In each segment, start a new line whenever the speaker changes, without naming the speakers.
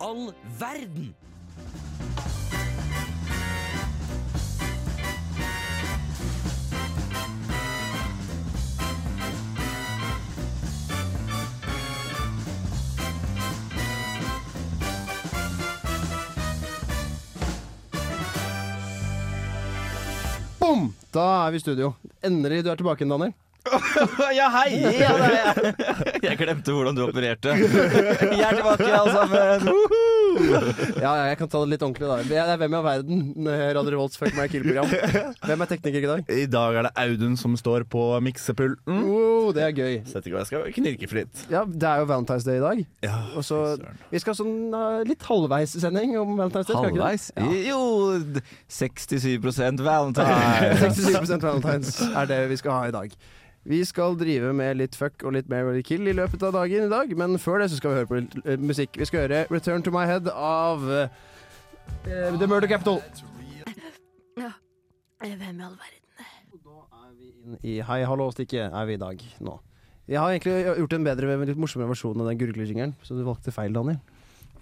all verden?
Bom! Da er vi i studio. Endelig, du er tilbake igjen, Daniel.
Ja, hei! Ja, det er jeg. jeg glemte hvordan du opererte. Jeg er tilbake, alle sammen.
Ja, ja, jeg kan ta det litt ordentlig, da. Det er Hvem i all verden? eh, Radio Revolts Fuck meg kill-program. Hvem er tekniker i dag?
I dag er det Audun som står på miksepulten.
Wow, Oh, det er gøy.
Så jeg vet ikke hva jeg skal knirke fritt.
Ja, det er jo Valentine's Day i dag.
Ja,
Og så
søren.
Vi skal ha sånn eh, litt halvveis-sending om Valentine's Day. skal vi ikke det?
Halvveis? Jo, 67 valentine.
67 Valentine's er det vi skal ha i dag. Vi skal drive med litt fuck og litt marry or kill i løpet av dagen i dag, men før det så skal vi høre på litt eh, musikk. Vi skal høre 'Return to My Head' av eh, The Murder Capital.
Hvem i all verden?
inn i Hei, hallo-stikket er vi i dag nå. Jeg har egentlig gjort en bedre, litt morsommere versjon av den gurglejingeren, så du valgte feil, Daniel.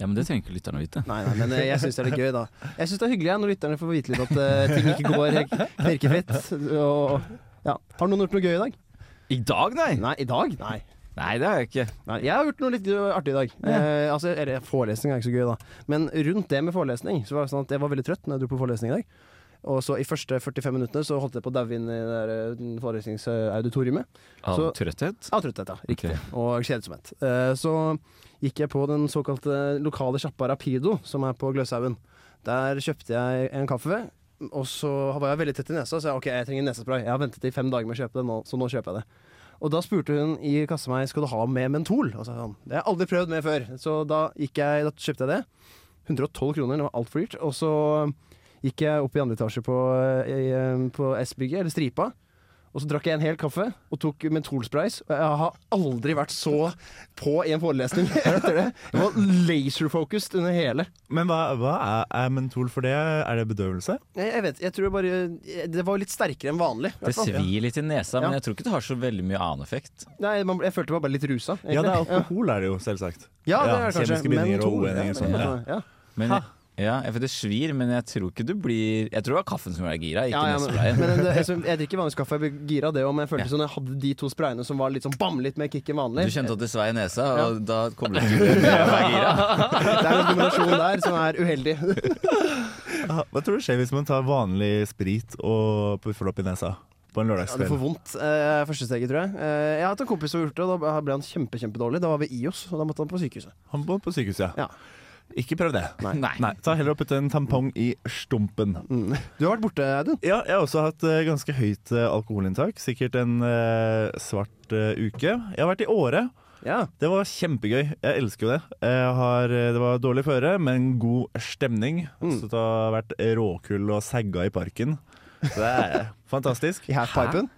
Ja, men Det trenger ikke lytterne å vite.
Nei, nei, men eh, jeg syns det er litt gøy, da. Jeg syns det er hyggelig jeg, når lytterne får vite litt at eh, ting ikke går helt knirkefritt. Og, ja. Har noen gjort noe gøy i dag?
I dag, nei?
Nei, i dag? Nei.
Nei, det har jeg ikke.
Nei, jeg har gjort noe litt artig i dag. Eh, altså, eller Forelesning er ikke så gøy, da. Men rundt det med forelesning Så var det sånn at jeg var veldig trøtt når jeg dro på forelesning i dag. Og så I første 45 minuttene så holdt jeg på å daue inn i det der, eh, forelesningsauditoriumet.
Av
Så-
trøtthet?
Av trøtthet, ja. Riktig.
Ok.
Og kjedsomhet. Eh, så gikk jeg på den såkalte lokale sjappa Rapido, som er på Gløshaugen. Der kjøpte jeg en kaffe. Og så var jeg veldig tett i nesa, så jeg, ok, jeg trenger nesespray. Jeg har ventet i fem dager med å kjøpe det, nå, så nå kjøper jeg det. Og da spurte hun i kassa meg skal du ha med mentol. Og så sa jeg sånn, Det har jeg aldri prøvd med før. Så da, gikk jeg, da kjøpte jeg det. 112 kroner, det var altfor dyrt. Og så gikk jeg opp i andre etasje på, eh, i- på S-bygget, eller Stripa. Og så drakk jeg en hel kaffe og tok mentolsprays. Og jeg har aldri vært så på i en forelesning etter det. Jeg var laser-focused under hele.
Men hva, hva er, er mentol for det? Er det bedøvelse?
Jeg, jeg vet, jeg tror jeg bare Det var litt sterkere enn vanlig. i hvert
Det
fall.
svir litt i nesa,
Ja.
men jeg tror ikke det har så veldig mye annen effekt.
Nei, man, jeg følte meg bare litt rusa. egentlig.
Ja, det er alkohol, er det jo, selvsagt.
ja, det
ja,
er det kanskje.
kjemiske bindinger og
Mentol,
oendinger
ja,
og sånn,
men- Ja.
Men, ja, for Det svir, men jeg tror ikke du blir Jeg tror det var kaffen som gjorde deg gira, ikke
Ja, ja, men,
nesesprayen.
men det, jeg, jeg drikker vanligvis kaffe, jeg blir gira av det òg, men jeg følte sånn jeg hadde de to sprayene som var litt sånn bam, litt mer kick enn vanlig.
Du kjente at det svei i nesa, og da koblet du det med å være gira.
Det er en kombinasjon der som er uheldig.
Ja, Hva tror du skjer hvis man tar vanlig sprit og puffer det opp i nesa på en
Ja, du får
lørdagskveld?
vondt eh, første steget, tror jeg. Eh, jeg har hatt en kompis som har gjort det, og da ble han kjempe, kjempedårlig. Da var vi i oss, og da måtte han på sykehuset.
Han bor på sykehuset,
Ja.
Ikke prøv det.
Nei.
Nei, Ta heller og putt en tampong i stumpen.
Mm. Du har vært borte, Audun.
Ja, jeg har også hatt eh, ganske høyt eh, alkoholinntak. Sikkert en eh, svart eh, uke. Jeg har vært i Åre.
Ja.
Det var kjempegøy. Jeg elsker jo det. Jeg har, eh, det var dårlig føre, men god stemning.
Mm.
Så det har vært råkull og sagga i parken. Så det er fantastisk.
I halfpipen.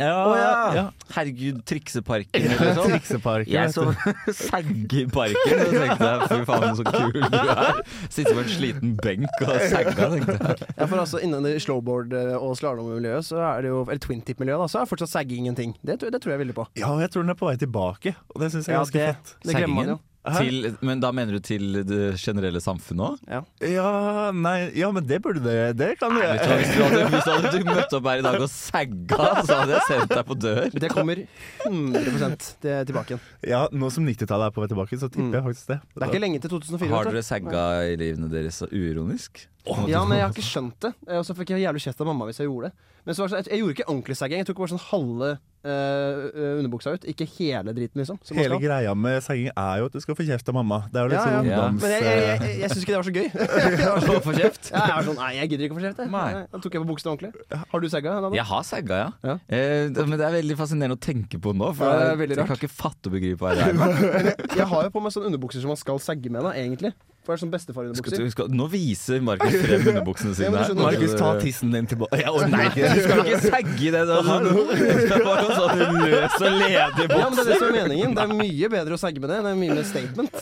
Ja,
Å ja.
ja.
Herregud, trikseparken
Det
eller
er
noe sånt.
Trikseparken.
Jeg
vet
så
du.
sagge i parken og tenkte jeg, fy faen så kul du er. Sitte på en sliten benk og sagga, tenkte jeg.
Ja, for altså Innen det slowboard- eh, og slalåmmiljøet, så er det jo Eller twintip-miljøet, da, så er fortsatt sagging en ting. Det, tror- det tror jeg veldig på.
Ja, og jeg tror den er på vei tilbake, og det syns jeg er
Ja,
ganske
det-
fett.
Det glemmer man
Saggingen?
jo.
Hæ?
Til, men da mener du til det generelle samfunnet òg?
Ja, nei, ja, men det burde det Det kan du gjøre.
Hvis, du hadde- hvis du hadde møtt opp her i dag og sagga, så hadde jeg sendt deg på dør.
Det kommer 100 det tilbake igjen.
Ja, nå som 90-tallet er på vei tilbake, så tipper jeg faktisk det.
Mm. Det er ikke lenge til 2004.
Har
vet du.
dere sagga i livene deres så uironisk?
Ja, men jeg har ikke skjønt det. Eh, Og så fikk jeg jævlig kjeft av mamma hvis jeg gjorde det. Men så var det sånn, jeg, jeg gjorde ikke ordentlig sagging. Jeg tok bare sånn halve eh, eh, underbuksa ut. Ikke hele driten, liksom. som man
Hele
skal.
greia med sagging er jo at du skal få kjeft av mamma. Det er jo litt
Ja,
sånn
ja.
ungdoms...
Men jeg, jeg, jeg, jeg syns ikke det var så gøy. Jeg var sånn-
Å få kjeft?
Ja, jeg var sånn, nei, jeg gidder ikke å få kjeft. jeg.
Nei.
Nei, Da tok jeg på buksene ordentlig. Har du segga? Nadal?
Jeg har sagga, ja.
Ja.
Eh, det- men det er veldig fascinerende å tenke på nå. For
Ja, det er veldig
jeg,
rart.
jeg kan ikke fatte og begripe hva det er.
Jeg har jo på meg sånne underbukser som man skal segge med, da, egentlig. For det er sånn
Skal,
bestefarunderbukser.
du- skal, nå viser Markus frem underbuksene
Ja,
sine
men du
her.
skjønner-
Markus, ta tissen din tilbake. Jeg orker
Du
ikke.
skal ikke sagge i det. da. Det skal være en sånn løs og ledig
Ja, men Det er det
bukse.
som er meningen. Det er mye bedre å segge med det. Det er mye mer statement.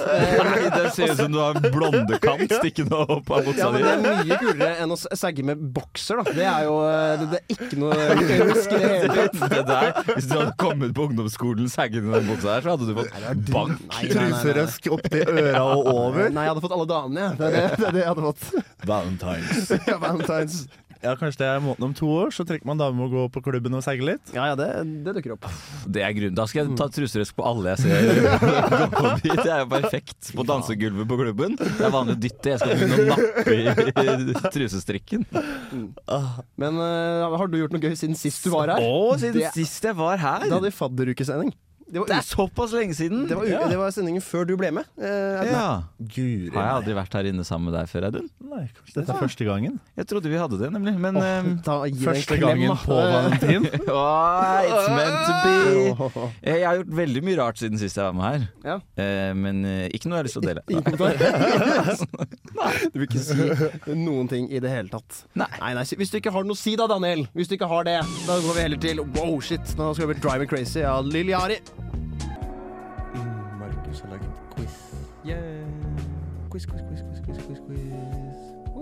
Nei, det ser ut som du har en blondekant stikkende opp av
Ja,
buksa
men
di.
Det er mye kulere enn å segge med bokser, da. Det er jo eh, Det, det er ikke noe ønske i det hele tatt.
Det der, hvis du hadde kommet på ungdomsskolen saggende i den buksa her, så hadde du fått bank.
Nei, nei, nei, nei.
Truserøsk opp til øra og over.
Nei, jeg hadde fått fått alle damene, jeg. Det er det, det, er det jeg hadde fått.
Valentines.
ja, Valentines.
Ja, Kanskje det er måten om to år, så trekker man damer og går på klubben og seile litt.
Ja ja, det, det dukker opp.
Det er grunnen. Da skal jeg ta
Mm.
truseresk på alle jeg ser. gå forbi. Det er jo perfekt på dansegulvet på klubben. Det er vanlig å dytte. Jeg skal begynne å nappe i trusestrikken.
Men eh, har du gjort noe gøy siden sist du var her? Det-
sist jeg var her!
Da hadde vi fadderukesending. Det
Det
var,
er såpass lenge siden!
u- det, var u- det var sendingen før du ble med. eh,
ja.
Guri
Har jeg aldri vært her inne sammen med deg før, Audun?
Nei, kanskje dette er første gangen.
Jeg trodde vi hadde det, nemlig. Men ehm,
Ta, gi det en
Første
klem,
gangen
da.
på valentin.
Åh, It's meant to be!
Åh.
Eh, Jeg har gjort veldig mye rart siden sist jeg var med her.
Ja.
Eh, Men eh, ikke noe jeg har lyst til å dele.
Ingen kommentar. Du vil ikke si noen ting i det hele tatt.
Nei.
nei, nei, Hvis du ikke har noe å si da, Daniel. Hvis du ikke har det, da går vi heller til wow, shit. Nå skal vi bli driving crazy av Lilly Ari.
Markus har laget quiz. Quiz, quiz, quiz, quiz, quiz, quiz, quiz.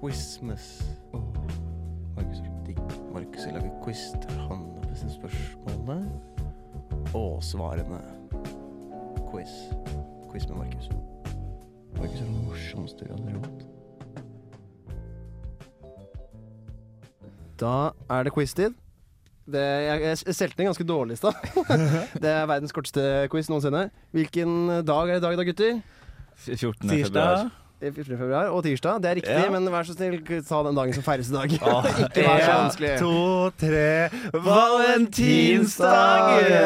Quizmas. Markus er så digg. Markus har laget quiz der han har bestilt spørsmålene og svarene. Quiz. Quiz med Markus. Markus er den morsomste vi har hatt.
Da er det quiz-tid. Det, jeg jeg solgte den ganske dårlig i stad. Det er verdens korteste quiz noensinne. Hvilken dag er i dag, da, gutter?
14. februar.
Tirsdag.
Det er 14. februar og tirsdag. Det er riktig,
Ja.
men vær så snill, ta den dagen som feires i dag.
Ikke
vær så
En,
vanskelig.
to, tre
Riktig.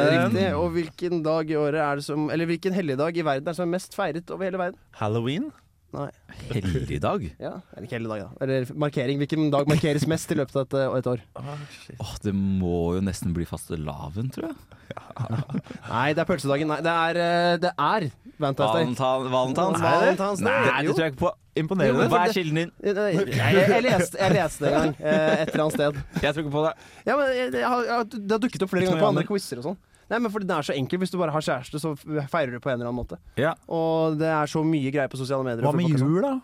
Valentinsdagen!
Og hvilken dag i året er det som Eller hvilken helligdag i verden er det som er mest feiret over hele verden?
Halloween?
Nei.
Helligdag?
Ja, eller ikke helligdag, da. Eller markering. Hvilken dag markeres mest i løpet av et, eh, et år?
Åh, det må jo nesten bli fastelavn, tror jeg.
Nei, det er pølsedagen. Nei, det er, eh, det er Valentine's Day.
Valentan, valentans?
Valentans
Nei,
Day, jo.
det tror jeg ikke på.
Imponerende.
Hva er kilden din?
Jeg, jeg, jeg, leste, jeg leste det en gang, eh, et eller annet sted.
Jeg tror ikke på det.
Ja, men jeg, jeg, har- jeg, har- Det har dukket opp flere ganger på andre quizer og sånn. Nei, men fordi Den er så enkel. Hvis du bare har kjæreste, så feirer du på en eller annen måte.
Ja.
Og det er så mye greier på sosiale medier.
Hva
for
med
folk er sånn.
jul, da?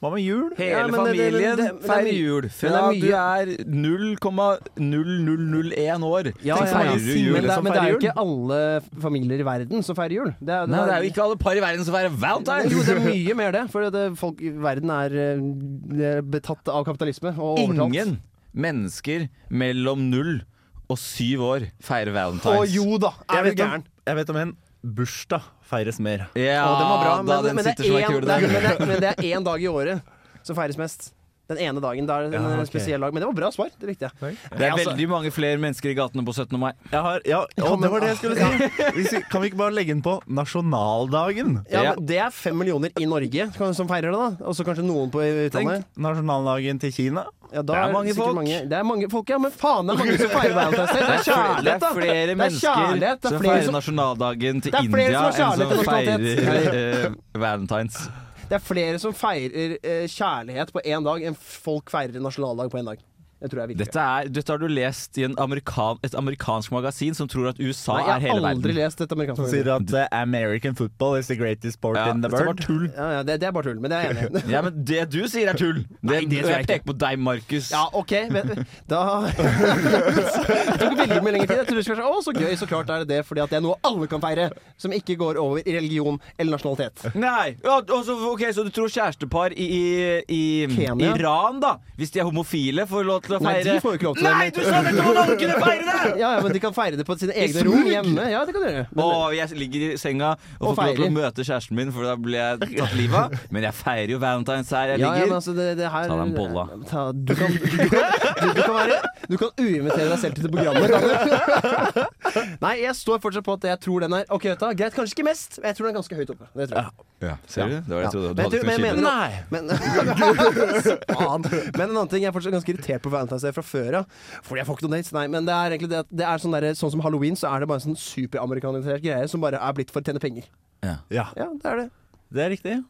Hva med jul?
Hele
Ja, men det- det- det-
familien
det- men det er
feirer
mye- men
jul.
det
Fra
er
du er 0,0001 år,
Ja, ja, ja.
så feirer du jul.
Men det,
som
men det er jo
feirer jul.
ikke alle familier i verden som feirer jul. Det er,
Nei, det er jo ikke alle par i verden som feirer valentines!
Jo, det er mye mer det. For det, folk i verden er eh, betatt av kapitalisme og overtalt.
Ingen mennesker mellom null og syv år feirer
Å
valentines.
jo da,
Jeg
er du
vet om-
gæren?
Jeg vet om en bursdag feires mer.
Ja,
Å, den var bra,
da,
men,
den
men, det
sitter som
er
ei
en-
kule
det er-
der.
men det er- men det er én dag i året som feires mest. Den ene dagen. Det er en eh,
Ja, ok.
spesiell dag. Men det var bra svar. Det likte jeg.
Det er
Nei, altså-
veldig mange flere mennesker i gatene på 17. mai.
Jeg har, ja, å,
Kan man-
det var det jeg skulle si! Hvis vi- Kan vi ikke bare legge den på nasjonaldagen?
Ja,
Ja.
men Det er fem millioner i Norge kan- som feirer det, da. Og så kanskje noen på utlandet.
Tenk nasjonaldagen til Kina.
Ja, da
Det er mange
sikkert
folk.
Mange, det er mange folk, ja. Men faen, det er mange som feirer Valentine's Day. Det er kjærlighet, da.
Det er flere
Det er
mennesker
kjærlighet, det er
som
flere
feirer
som-
nasjonaldagen til
Det er flere
India
som har
enn som
kjærlighet til
feirer eh, valentines.
Det er flere som feirer eh, kjærlighet på én dag, enn folk feirer nasjonaldag på én dag. Det tror jeg virkelig.
Dette, er, dette har du lest i en amerikan, et amerikansk magasin som tror at USA
Nei,
er
jeg
hele
har aldri
verden.
lest dette amerikanske
Sier
programmet.
at eh, American football is the greatest sport
Ja,
in the
dette var
world.
tull.
Ja, ja, det, det er bare tull, men det er jeg enig i.
Ja, men det du sier er tull! Det,
Nei, det tror jeg
jeg
ikke.
peker på deg, Markus.
Ja, OK. men- Da Det tok veldig mye lengre tid. Jeg trodde det skulle være sånn, Å, så gøy. Så klart er det det, fordi at det er noe alle kan feire. Som ikke går over i religion eller nasjonalitet.
Nei, ja, altså, ok, Så du tror kjærestepar i, i, i
Kenya?
Iran, da, hvis de er homofile, får lov til å
Nei,
feire
de får jo ikke lov til det,
Nei,
men-
du sa nettopp at alle kunne feire det!
Ja, ja, men de kan feire det på sine egne
smug?
rom hjemme. Ja, det kan de gjøre. Men-
Og jeg ligger i senga og,
Og
får ikke lov til
feirer.
å møte kjæresten min, for da blir jeg tatt livet av. Men jeg feirer jo Valentine's her jeg
Ja, ja, men
ligger.
altså det, det her,
Ta deg en bolla.
Ta, du, kan, du, kan, du, kan være, du kan uinvitere deg selv til det programmet. Daniel. Nei, jeg står fortsatt på at jeg tror den er Ok, vet du hva, greit, kanskje ikke mest, men jeg tror den er ganske høyt oppe. Det tror jeg.
Ja, ser du? Det var det jeg trodde. Du
Men jeg
hadde
tror-
ikke noe
men jeg
kilde.
mener- Men, Faen. men en annen ting, jeg er fortsatt ganske irritert på Valentine's Day fra før av. Fordi jeg får ikke noen dates. Nei, men det er egentlig det at det er sånn, derre- sånn som halloween, så er det bare en sånn superamerikanisert greie som bare er blitt for å tjene penger.
Ja.
Ja,
Ja, det er det.
det er riktig.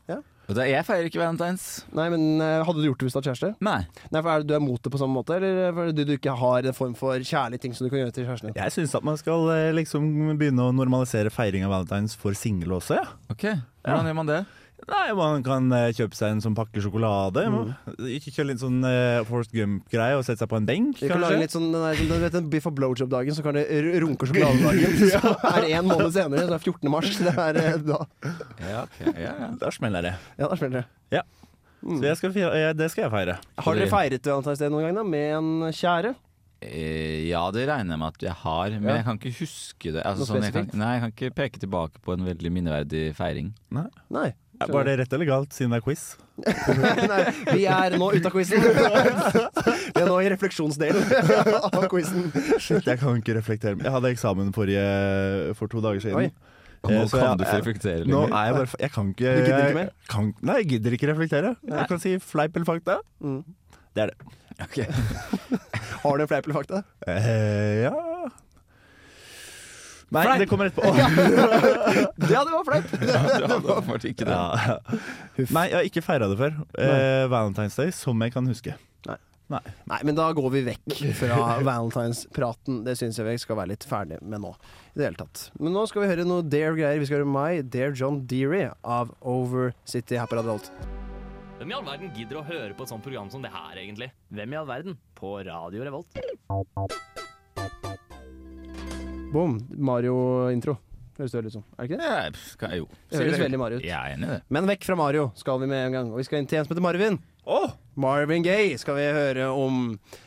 Og da- Jeg feirer ikke Valentine's.
Nei, men eh, hadde du gjort det hvis du hadde kjæreste?
Nei.
Nei, for er det, Du er mot det på samme måte, eller fordi du ikke har en form for kjærlige ting som du kan gjøre til kjæresten din?
Jeg syns at man skal eh, liksom begynne å normalisere feiring av valentines for single også, ja.
Ok, Hvordan gjør man det?
Nei, man kan eh, kjøpe seg en sånn pakke sjokolade. man-
Mm.
Ikke kjøre litt sånn eh, Forrest Gump-greie og sette seg på en benk,
Vi kan lage
kanskje.
litt sånn, den der, du vet, den Biff og blowjob-dagen, så kan det r- runke sjokoladedagen. Så er det en måned senere, så er det 14. mars. Det er eh, da.
Ja, ok, ja, ja.
Der smeller det.
Ja, da smeller det. Mm.
Så jeg skal feire, eh, det skal jeg feire.
Har dere feiret valentinsdagen noen gang da, med en kjære?
Eh, ja, det regner jeg med at jeg har, men
Ja.
jeg kan ikke huske det. Altså,
Noe
sånn, jeg kan,
spesifikt?
nei, jeg kan ikke peke tilbake på en veldig minneverdig feiring.
Nei.
Ja, Var det rett eller galt, siden det er quiz?
Nei, vi er nå ute av quizen. Vi er nå i refleksjonsdelen av quizen.
Shit, jeg kan ikke reflektere. Jeg hadde eksamen forrige, for to dager siden.
Oi.
Eh,
Nå
så
kan
jeg-
du ikke reflektere
Nå
lenger.
er jeg bare f- Jeg kan ikke
Du gidder ikke
jeg-
mer?
Kan, nei, jeg gidder ikke reflektere.
Nei.
Jeg kan si fleip eller fakta.
Mm.
Det er det.
Ok.
Har du en fleip eller fakta?
Eh, ja Nei,
Fleip.
det kommer etterpå.
Ja, det var fleip!
Du hadde åpenbart ikke det.
Ja. Nei, jeg har ikke feira det før. Eh, Valentine's Day, som jeg kan huske.
Nei, men da går vi vekk fra valentinspraten. Det syns jeg vi skal være litt ferdig med nå. I det hele tatt. Men nå skal vi høre noe Dare-greier. Vi skal høre My Dare John Deary av Over City Happy Adult.
Hvem i all verden gidder å høre på et sånt program som det her, egentlig? Hvem i all verden? På Radio Revolt.
Boom. Mario-intro. Høres det ut som? Er det ikke det?
Ja, pff, kan- jo.
Det høres veldig Mario ut.
Jeg er enig i det.
Men vekk fra Mario skal vi med en gang. Og vi skal inn til en som heter Marvin.
Åh!
Marvin Gaye skal vi høre om.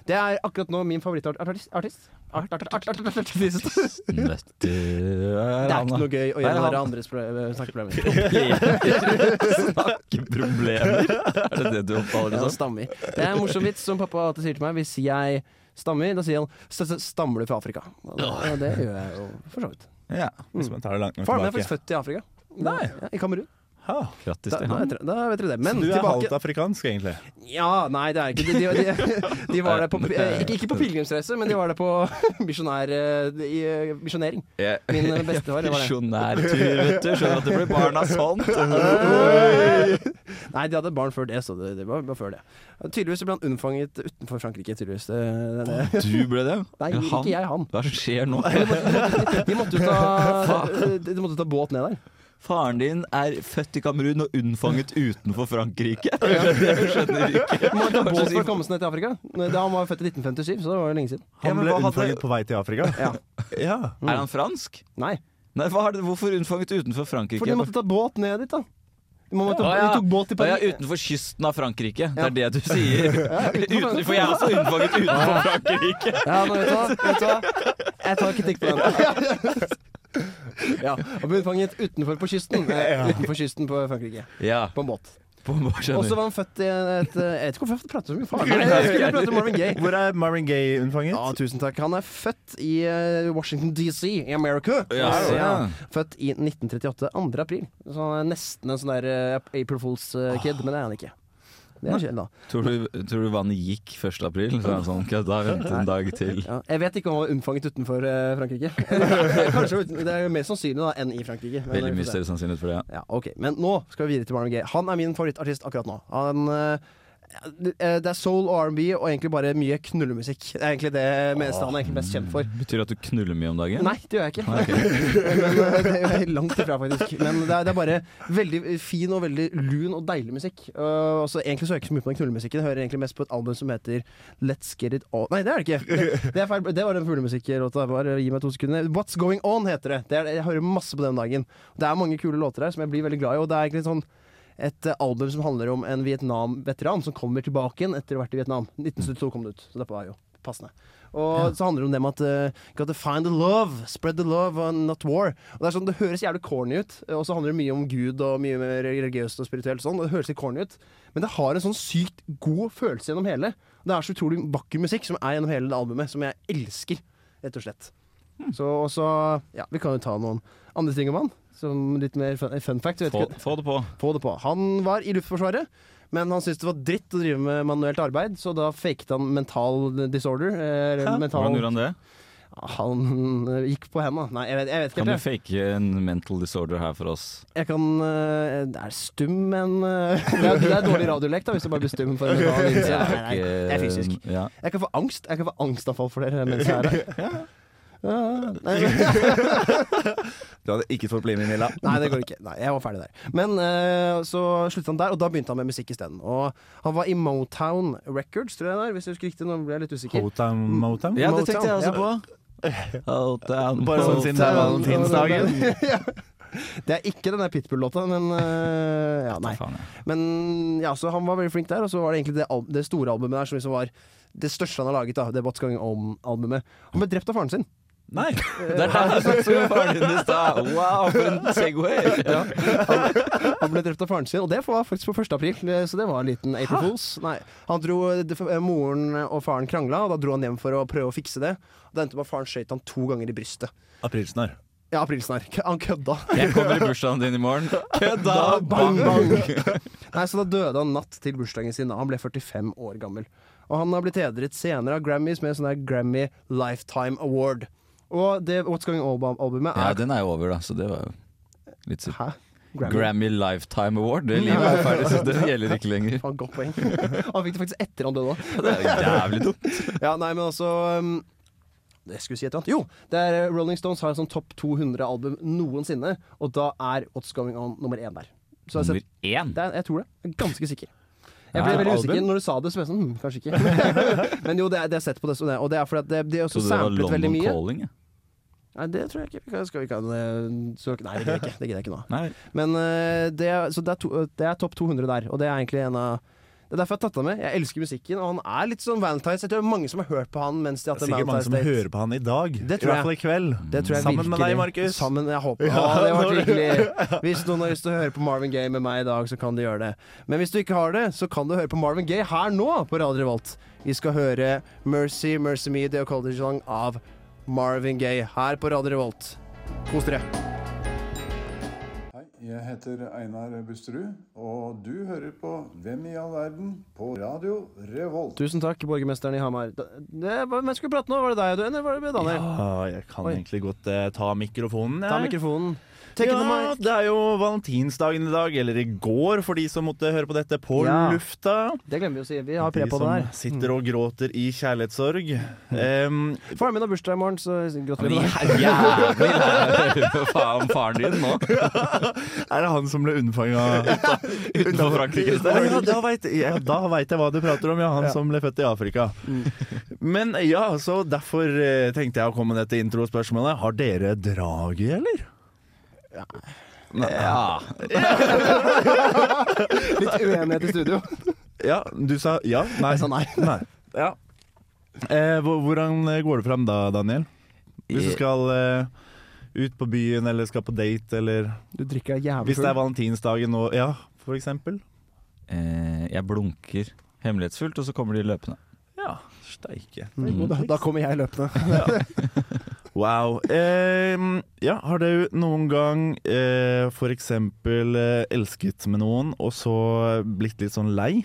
Det er akkurat nå min favorittartist. Artist? Art, art, art, art, art, artist.
Den vet du-
Det er ikke noe gøy å
Der er
gjennomføre
han.
andres pro- snakkeproblemer.
Snakkeproblemer. Er det det du
Ja, han
oppfaller det som?
liksom. stammer. Det er en morsom vits som pappa alltid sier til meg. Hvis jeg stammer, da sier han "S- s- stammer du fra Afrika. Og det, og det gjør jeg jo for så vidt.
Ja.
Hvis man tar det langt nok
Mm. Faren min er
tilbake.
faktisk født i Afrika.
Nei.
Ja, I Kamerun.
Ha.
Grattis
Da, da,
til han.
vet dere- da vet dere det. Men
Du er
tilbake
halvt afrikansk, egentlig.
Ja, nei, det er ikke det. De, de, de var der på eh, Ikke, ikke på pilegrimsreise, men de var der på misjonær... eh, i, eh, Misjonering.
Jeg-
Min bestefar var det.
Misjonærtur, vet du. Skjønner at det blir barna sånn. sånt.
Nei, de hadde barn før det, så det, det var, var før det. Tydeligvis ble han unnfanget utenfor Frankrike. Tydeligvis det, det, det.
Du ble det?
Nei,
Eller han?
ikke jeg, han.
Hva skjer nå?
De måtte- De måtte jo ta, de måtte ta båt ned der.
Faren din er født i Kamerun og unnfanget utenfor Frankrike. Jeg skjønner ikke.
De måtte ta båt for å komme seg ned til Afrika. Da han var født i 1957, så det var jo lenge siden.
Ja,
Han
men
ble
hva hadde-
unnfanget på vei til Afrika.
Ja.
Ja.
Er han fransk?
Nei.
Nei, hva er det? Hvorfor unnfanget utenfor Frankrike?
For de måtte ta båt ned dit, da. De, måtte,
Å, ja.
de tok båt til
Å, ja,
Paris.
utenfor kysten av Frankrike. Det
Ja.
er det du sier. Utenfor, for jeg er også unnfanget utenfor Frankrike.
Ja, nå vet du hva? Vet du hva? Jeg tar kritikk på den. Ja, og ble fanget utenfor på kysten. Eh, utenfor kysten på Frankrike.
Ja,
På en båt.
på en måte
Og så
skjønner.
var han født i et eh, Jeg vet ikke hvorfor jeg prater så mye faen. Jeg skulle prate om Marvin Gaye.
Hvor er Marvin Gaye unnfanget?
Ja, tusen takk. Han er født i eh, Washington DC i America.
Ja,
Så,
ja.
Født i 1938, 2. april. Så han er nesten en sånn der eh, April Fools-kid, men det er han ikke. Det er kjedelig, da.
Tror du, tror du vannet gikk 1. april? Så er han sånn, kødda, vent en dag til.
Ja, jeg vet ikke om han var unnfanget utenfor eh, Frankrike. Kanskje uten, Det er jo mer sannsynlig da enn i Frankrike. men
Veldig
vi
mye
får se.
større sannsynlighet for det. ja.
Ja, ok, Men nå skal vi videre til Marvin Gaye. Han er min favorittartist akkurat nå. Han, eh, det er soul og R&B og egentlig bare mye knullemusikk. Det er egentlig det meste han er egentlig mest kjent for.
Betyr det at du knuller mye om dagen?
Nei, det gjør jeg ikke. Men, eh, det er jeg langt ifra, faktisk. Men det er, det er bare veldig fin og veldig lun og deilig musikk. Uh, altså, egentlig så hører jeg ikke så mye på den knullemusikken. Jeg hører egentlig mest på et album som heter Let's Get It On Nei, det er det ikke. Det, det, er feil. det var den fuglemusikklåta. Bare gi meg to sekunder. What's Going On heter det. det er, jeg hører masse på den dagen. Det er mange kule låter her som jeg blir veldig glad i, og det er egentlig sånn et eh, album som handler om en Vietnam-veteran som kommer tilbake igjen etter å ha vært i Vietnam. 1972 kom det ut, så det var jo passende. Og så handler det om det med at uh, Gotta find the love, spread the love, and not war. Og Det er sånn, det høres jævlig corny ut, eh, og så handler det mye om Gud og mye mer religiøst og spirituelt. Sånn, og det høres litt corny ut Men det har en sånn sykt god følelse gjennom hele. Det er så utrolig vakker musikk som er gjennom hele det albumet, som jeg elsker, rett og slett. Så og så- ja, Vi kan jo ta noen andre ting om han, som litt mer fun, fun fact. Jeg vet
Få,
ikke-
få det på.
få det på. Han var i Luftforsvaret, men han syntes det var dritt å drive med manuelt arbeid, så da faket han mental disorder. eh, eller
Hvordan
mental,
gjorde han det?
han eh, gikk på henda. Nei, jeg vet, jeg vet ikke
Kan du
helt.
fake en mental disorder her for oss?
Jeg, jeg kan eh, Det er stum, men eh, det, er, det er dårlig radiolek da hvis du bare blir stum for en mental lidelse. Nei, nei, det er fysisk.
eh, Ja.
Jeg kan få angst. Jeg kan eh, få angstanfall for dere mens jeg er her. Ja, nei,
Du hadde ikke fått bli med, Milla.
Nei, det går ikke. Nei, jeg var ferdig der. Men eh, så sluttet han der, og da begynte han med musikk isteden. Og han var i Motown Records, tror jeg det er, hvis jeg husker riktig. Nå ble jeg litt usikker.
Hotam, motam?
Ja, det tenkte jeg
Motown,
også på. Hold down,
Bare sånn
hold
siden det er
down.
valentinsdagen.
ja. Det er ikke den der Pitbull-låta, men eh, ja, nei.
Faen, ja.
Men ja, så han var veldig flink der, og så var det egentlig det, al det store albumet der som liksom var det største han har laget, da, det What's Going On-albumet. Han ble drept av faren sin.
Nei.
Det er der du snakket om faren din i stad. Wow, for en Segway!
Han ble drept av faren sin, og det var faktisk på 1. april, eh, så det var en liten April Fools. Nei, han dro, det- f- eh, moren og faren krangla, og da dro han hjem for å prøve å fikse det. Og det endte med at faren skjøt han to ganger i brystet.
Aprilsnarr.
Ja, aprilsnarr. K- Han kødda.
Jeg kommer i bursdagen din i morgen. Kødda!
Bang, bang. Nei, så da døde han natt til bursdagen sin. da. Han ble 45 år gammel. Og han har blitt hedret senere av Grammys med sånn der Grammy Lifetime Award. Og det What's Going On-albumet
Ja,
er
den er jo over, da, så det var jo litt sykt.
Hæ?
Grammy Lifetime Award. Det livet er ferdig, så det gjelder ikke lenger.
Faen, godt poeng. Han fikk det faktisk etter han døde òg.
Det er jævlig dumt.
Ja, nei, men altså um, det skulle jeg si et eller annet. Jo, det er eh, Rolling Stones har en sånn topp 200-album noensinne, og da er What's Going On nummer én der. Så jeg, har
Nummer
sett-
én.
det er, jeg tror det. Jeg er ganske sikker. Jeg
Ja,
ble veldig
album?
usikker når du sa det, så ble jeg sånn hm, kanskje ikke. men jo, det er, det er sett på det som det, og det er fordi at det, de har også
Så det var
samplet veldig
London
mye.
Calling, ja.
Nei, det tror jeg ikke. Vi kan- Skal vi ikke ha det så, Nei, det gidder jeg ikke. Det gidder jeg ikke nå.
Nei,
Men eh, det, er- så det er, to, det er topp 200 der, og det er egentlig en av det er derfor jeg har tatt ham med. Jeg elsker musikken, og han er litt sånn Valentine's. Jeg tror det er mange som har hørt på han mens de har hatt
Det er
en
sikkert mange
Valentine's
som
Day.
hører på han i dag.
Det tror
I hvert fall i kveld.
Det tror jeg
Sammen med
virkelig.
deg, Markus.
Sammen, jeg håper. Å, det var hyggelig. Hvis noen har lyst til å høre på Marvin Gaye med meg i dag, så kan de gjøre det. Men hvis du ikke har det, så kan du høre på Marvin Gaye her nå på Radio Revolt. Vi skal høre Mercy, Mercy Me, The Occult Song av Marvin Gaye her på Radio Revolt. Kos dere.
Hei, jeg heter Einar Busterud, og du hører på Hvem i all verden på Radio Revolt.
Tusen takk, borgermesteren i Hamar. Da- Det, hva- hvem skulle prate nå? Var det deg, du, eller var det Daniel?
Ah, jeg kan
Oi.
egentlig godt eh, ta mikrofonen.
Ta
jeg.
mikrofonen. Take it away.
ja, det er jo valentinsdagen i dag, eller i går for de som måtte høre på dette på
Ja.
lufta.
Det glemmer vi å si. Vi har
De
pre på Mm. det
som
her.
sitter og gråter i kjærlighetssorg. Em,
Faren min har bursdag i morgen, så gratulerer med det.
jævlig jævlig faen faren din nå.
er det han som ble unnfanga
Utenfor Frankrike.
ja, da veit ja, da vet jeg hva du prater om, ja, han som ble født i Afrika.
Mm.
Men ja, så derfor eh, tenkte jeg å komme med dette introspørsmålet. Har dere draget, eller?
Ja.
Litt uenighet i studio.
Ja, du sa ja? Nei.
Jeg sa nei.
Nei. Ja. Eh, hvor- hvordan går det fram da, Daniel? Hvis du skal eh, ut på byen, eller skal på date, eller
Du drikker deg jævlig
Hvis det er
full.
valentinsdagen nå, ja, for eksempel.
Eh, Jeg blunker hemmelighetsfullt, og så kommer de løpende.
Ja, steike.
Mm. Da, da kommer jeg løpende.
Wow. Eh, ja, har du noen gang eh, for eksempel eh, elsket med noen, og så blitt litt sånn lei?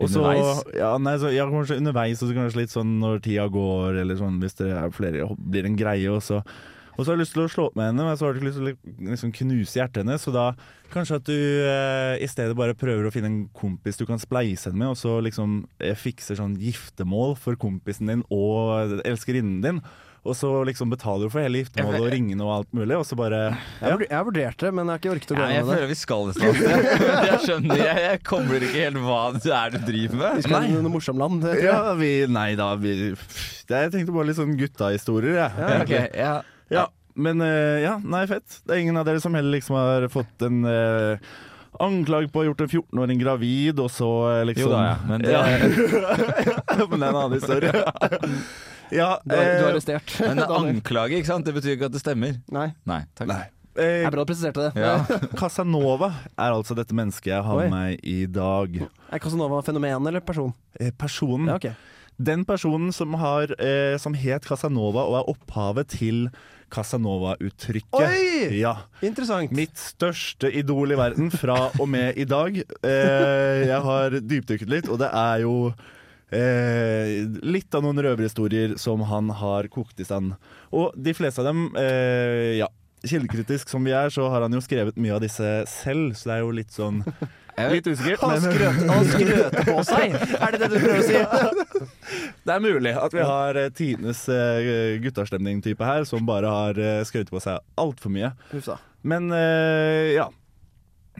Og så-
Underveis?
Ja, nei, så, ja, kanskje underveis, og så kanskje litt sånn når tida går, eller sånn hvis det er flere, og blir en greie, og så og så har du lyst til å slå opp med henne, men så har du ikke lyst til å liksom knuse hjertet hennes. Så da kanskje at du eh, i stedet bare prøver å finne en kompis du kan spleise henne med, og så liksom eh, fikser sånn giftermål for kompisen din og elskerinnen din. Og så liksom betaler du for hele giftermålet og ringene og alt mulig, og så bare
Jeg, vurd- jeg vurderte det, men jeg har ikke orket å gå
Ja, jeg
gjennom det.
føler vi skal et eller annet sted. Jeg skjønner, jeg, jeg kobler ikke helt hva det er du driver
Vi
med.
skal til noe morsomt land. det tror jeg.
Ja, vi Nei da, vi pff, det- Jeg tenkte bare litt sånn guttahistorier, jeg.
Ja, ok, ja.
Ja, men eh, ja, nei, fett. Det er ingen av dere som heller liksom har fått en eh, Anklag på å ha gjort en 14-åring gravid, og så eh, liksom
Jo da, ja. Men det,
Men det er en annen historie. ja,
Du er, du er
eh,
arrestert.
men det er
Daniel.
anklage, ikke sant? Det betyr ikke at det stemmer.
Nei.
Nei, takk.
Nei.
Det
eh,
er bra du presiserte det.
Ja.
Casanova er altså dette mennesket jeg har
Oi.
med meg i dag.
Er Casanova fenomen eller person?
Eh, Personen
Ja, ok.
Den personen som, har, eh, som het Casanova og er opphavet til Casanova-uttrykket.
Oi!
Ja.
Interessant.
Mitt største idol i verden fra og med i dag. Eh, jeg har dypdykket litt, og det er jo eh, litt av noen røverhistorier som han har kokt i stand. Og de fleste av dem, eh, ja. Kildekritisk som vi er, så har han jo skrevet mye av disse selv, så det er jo litt sånn
Jeg vet-
Litt usikkert,
Han
men
skrøt, han skrøt på seg! Er det det du prøver å si?
det er mulig at vi har eh, tidenes eh, guttastemning-type her, som bare har eh, skrøt på seg altfor mye.
Huff da.
Men eh, ja.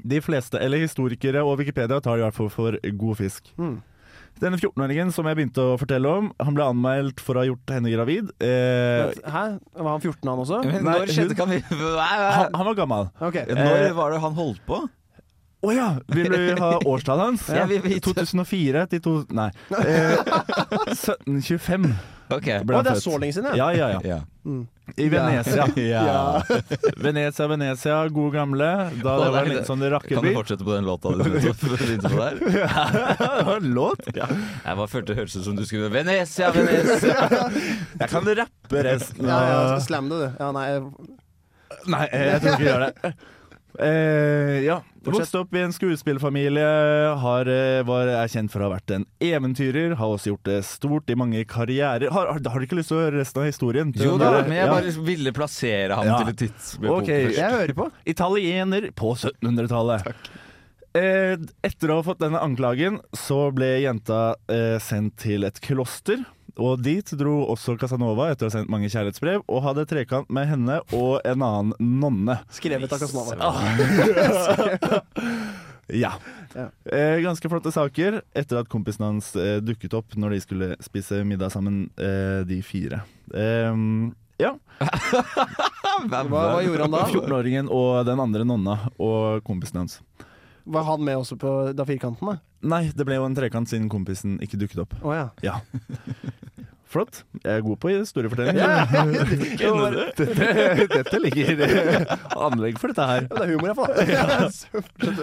De fleste, eller historikere og Wikipedia, tar det i hvert fall for god fisk. Denne 14-åringen som jeg begynte å fortelle om, han ble anmeldt for å ha gjort henne gravid. Eh,
Hæ? Var han 14 han også?
Men
Nei,
når skjedde
hun-
kan
han,
vi Eh,
han var gammel.
Ok.
Når var det han holdt på?
Å ja! Vil du ha årstallet hans?
Ja, vi vet.
2004 til to... Nei. Eh, 1725
Ok.
ble
Å,
han
det er
født.
så lenge siden, ja.
Ja, ja, ja.
Ja.
I Venezia.
Ja.
Venezia, Venezia, gode gamle. Da
Å,
det var
nei,
litt sånn
Kan du
rakkerby.
fortsette på den låta du begynte på der?
Det var en låt?
Jeg bare følte det hørtes ut som du skulle Venezia, Venezia!
Jeg kan rappe resten.
Ja, ja,
av-
Slam det, du. Ja, nei
Nei, eh, jeg tror ikke jeg gjør det. Eh, ja. Vokste opp i en skuespillerfamilie. Har, eh, var, er kjent for å ha vært en eventyrer. Har også gjort det stort i mange karrierer. Har, har, har du ikke lyst til å høre resten av historien?
Jo da, men jeg
Ja.
bare ville plassere ham
Ja.
til et tidspunkt.
Ok, jeg hører på. Italiener på 1700-tallet. Eh, etter å ha fått denne anklagen, så ble jenta eh, sendt til et kloster. Og dit dro også Casanova etter å ha sendt mange kjærlighetsbrev, og hadde trekant med henne og en annen nonne.
Skrevet av Casanova.
Ja. Eh, ganske flotte saker etter at kompisen hans eh, dukket opp når de skulle spise middag sammen, eh, de fire. Eh, ja.
Hvem
Hva, hva gjorde han da?
14-åringen og den andre nonna og kompisen hans.
Var han med også på da firkanten? da?
Nei, det ble jo en trekant siden kompisen ikke dukket opp.
Å ja.
Ja. Flott. Jeg er god på historiefortelling. Dette, dette ligger anlegg for dette her.
Ja, Det er humor, iallfall.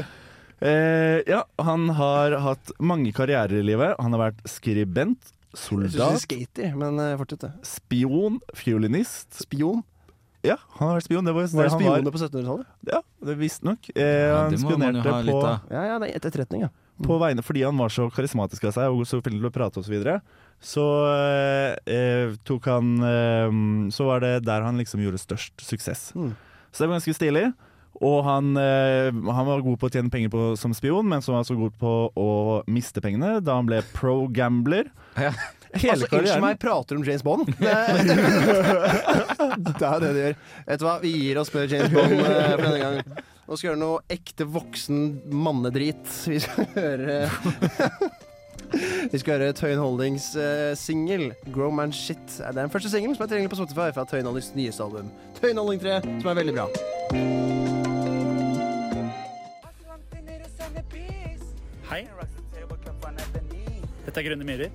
Eh, ja, han har hatt mange karrierer i livet. Han har vært skribent,
Jeg syns du
soldat,
skater, men eh, fortsett, du.
spion, fiolinist.
Spion?
Ja, han har vært spion. Det var
Var
jo det
det
han var.
spioner på 1700-tallet?
Ja, det Visstnok. Eh,
Ja,
han
det må man jo
spionerte
ha
på
litt av. Mm.
Ja, ja, det er et- etterretning, ja.
på vegne, fordi han var så karismatisk av seg og så flink til å prate osv., så, videre, så eh, tok han eh, Så var det der han liksom gjorde størst suksess.
Mm.
Så det var ganske stilig. Og han, eh, han var god på å tjene penger på, som spion, men så var han så god på å miste pengene da han ble pro gambler.
Ja.
Hele
altså, unnskyld
karrieren.
meg, prater du om James Bond? Det er det er det du gjør. Vet du hva, vi gir oss med James Bond eh, for denne gang. Nå skal vi gjøre noe ekte voksen mannedrit. Vi skal høre Vi skal høre Tøyen Holdings eh, singel 'Grow Man Shit'. Det er den første singelen som er tilgjengelig på Spotify fra Tøyen Holdings nyeste album. Tøyen Holding 3, som er veldig bra.
Hei.
Dette er Grønne myrer,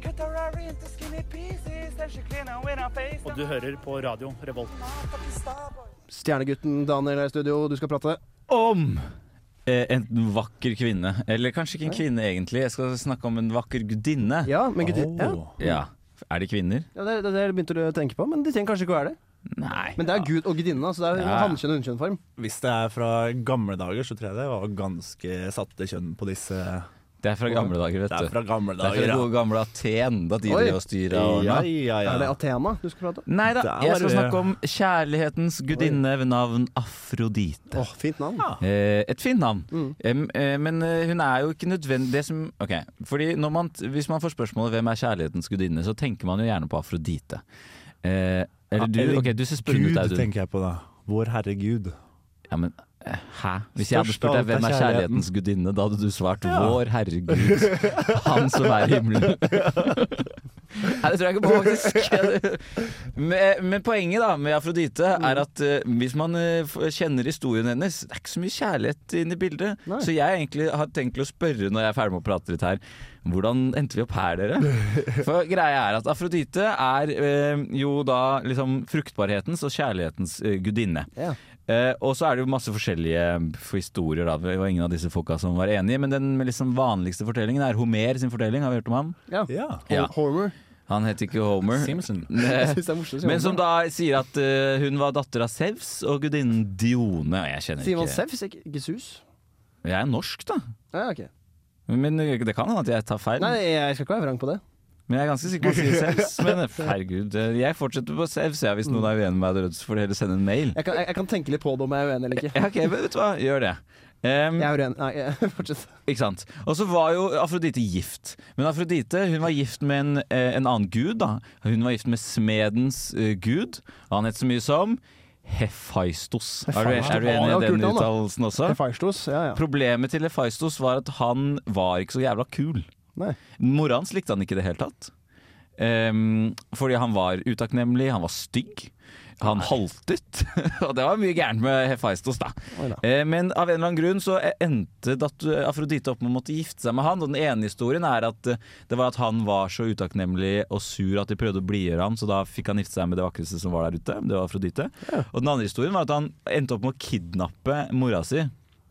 og du hører på radio Revolt.
Stjernegutten Daniel er i studio, du skal prate.
Om eh, en vakker kvinne. Eller kanskje ikke en kvinne, egentlig. Jeg skal snakke om en vakker gudinne.
Ja, men gutter, ja.
Ja. Er det kvinner?
Ja, det, er- det, er det jeg begynte du å tenke på, men de trenger kanskje ikke å være det.
Nei.
Men det er gud og gudinne, så det er
Ja.
hannkjønn og hunnkjønnform.
Hvis det er fra gamle dager, så tror jeg det var ganske satte kjønn på disse.
Det er fra gamle dager, vet
Det
du.
er fra gamle
Det er fra
dager,
gode gamle Aten, da de
Oi.
drev og styra
ja.
og ordna.
Ja, ja, ja.
Er det Athena du skal prate om?
Nei da,
Der
jeg skal
var det.
snakke om kjærlighetens gudinne ved navn Afrodite.
Åh, fint navn.
Eh, Et fint navn.
Mm.
Em, eh, Men eh, hun er jo ikke nødvendig det som, Ok, fordi når man, Hvis man får spørsmålet hvem er kjærlighetens gudinne, så tenker man jo gjerne på Afrodite. Eh, eller du,
eller
ok, du ser sprungen ut,
Gud,
Audun.
tenker jeg på da. Vår Herre Gud.
Ja, men eh, hæ? Hvis jeg hadde
Størst
spurt
av
deg hvem er
alt er
kjærlighetens gudinne, da hadde du svart vår herregud, han som er i himmelen. Nei, det tror jeg ikke på, faktisk. Men, men poenget da med Afrodite er at eh, hvis man eh, f- kjenner historien hennes Det er ikke så mye kjærlighet inne i bildet.
Nei.
Så jeg egentlig har tenkt til å spørre når jeg er ferdig med å prate litt her, hvordan endte vi opp her, dere? For greia er at Afrodite er eh, jo da liksom fruktbarhetens og kjærlighetens eh, gudinne.
Ja.
Eh, og så er det jo masse forskjellige f- historier, da. Det var ingen av disse folka som var enige. Men den liksom vanligste fortellingen er Homer sin fortelling. Har vi hørt om ham?
Ja.
Ja.
Ja.
Homer.
Han het ikke Homer.
Simpson.
Jeg
Eh,
synes det er morsomt. å si
Men som
Homer.
da sier at eh, hun var datter av Sevs og gudinnen Dione. Og Jeg kjenner
Sier man
ikke
Sevs, ikke Jesus?
Jeg er norsk, da.
Ja, ok.
Men eh, det kan hende at jeg tar feil.
Nei, jeg skal ikke være vrang på det.
Men jeg er ganske sikker på at man sier Sevs. Men herregud, eh, jeg fortsetter på Sevs. Ja, hvis noen er uenig med meg, så får dere heller sende en mail.
Jeg kan, jeg, jeg kan tenke litt på det om jeg er uenig eller ikke.
Ja, ok, men vet du hva, gjør det. Em,
Jeg er uenig. Nei, jeg- fortsett.
Ikke sant? Og så var jo Afrodite gift. Men Afrodite hun var gift med en, eh, en annen gud. da Hun var gift med smedens eh, gud. Og han het så mye som Hefaistos. Er du, er du enig
Ja,
i
kult navn,
den
da.
uttalelsen også?
Feistos, ja ja.
Problemet til Hefaistos var at han var ikke så jævla kul.
Nei.
Mora hans likte han ikke i det hele tatt. Ehm, fordi han var utakknemlig, han var stygg. Han haltet, og det var mye gærent med Hefaistos, da.
Oi da.
Eh, Men av en eller annen grunn så endte dat- Afrodite opp med å måtte gifte seg med han. Og den ene historien er at eh, det var at han var så utakknemlig og sur at de prøvde å blidgjøre ham, så da fikk han gifte seg med det vakreste som var der ute. Det var Afrodite. Og den andre historien var at han endte opp med å kidnappe mora si.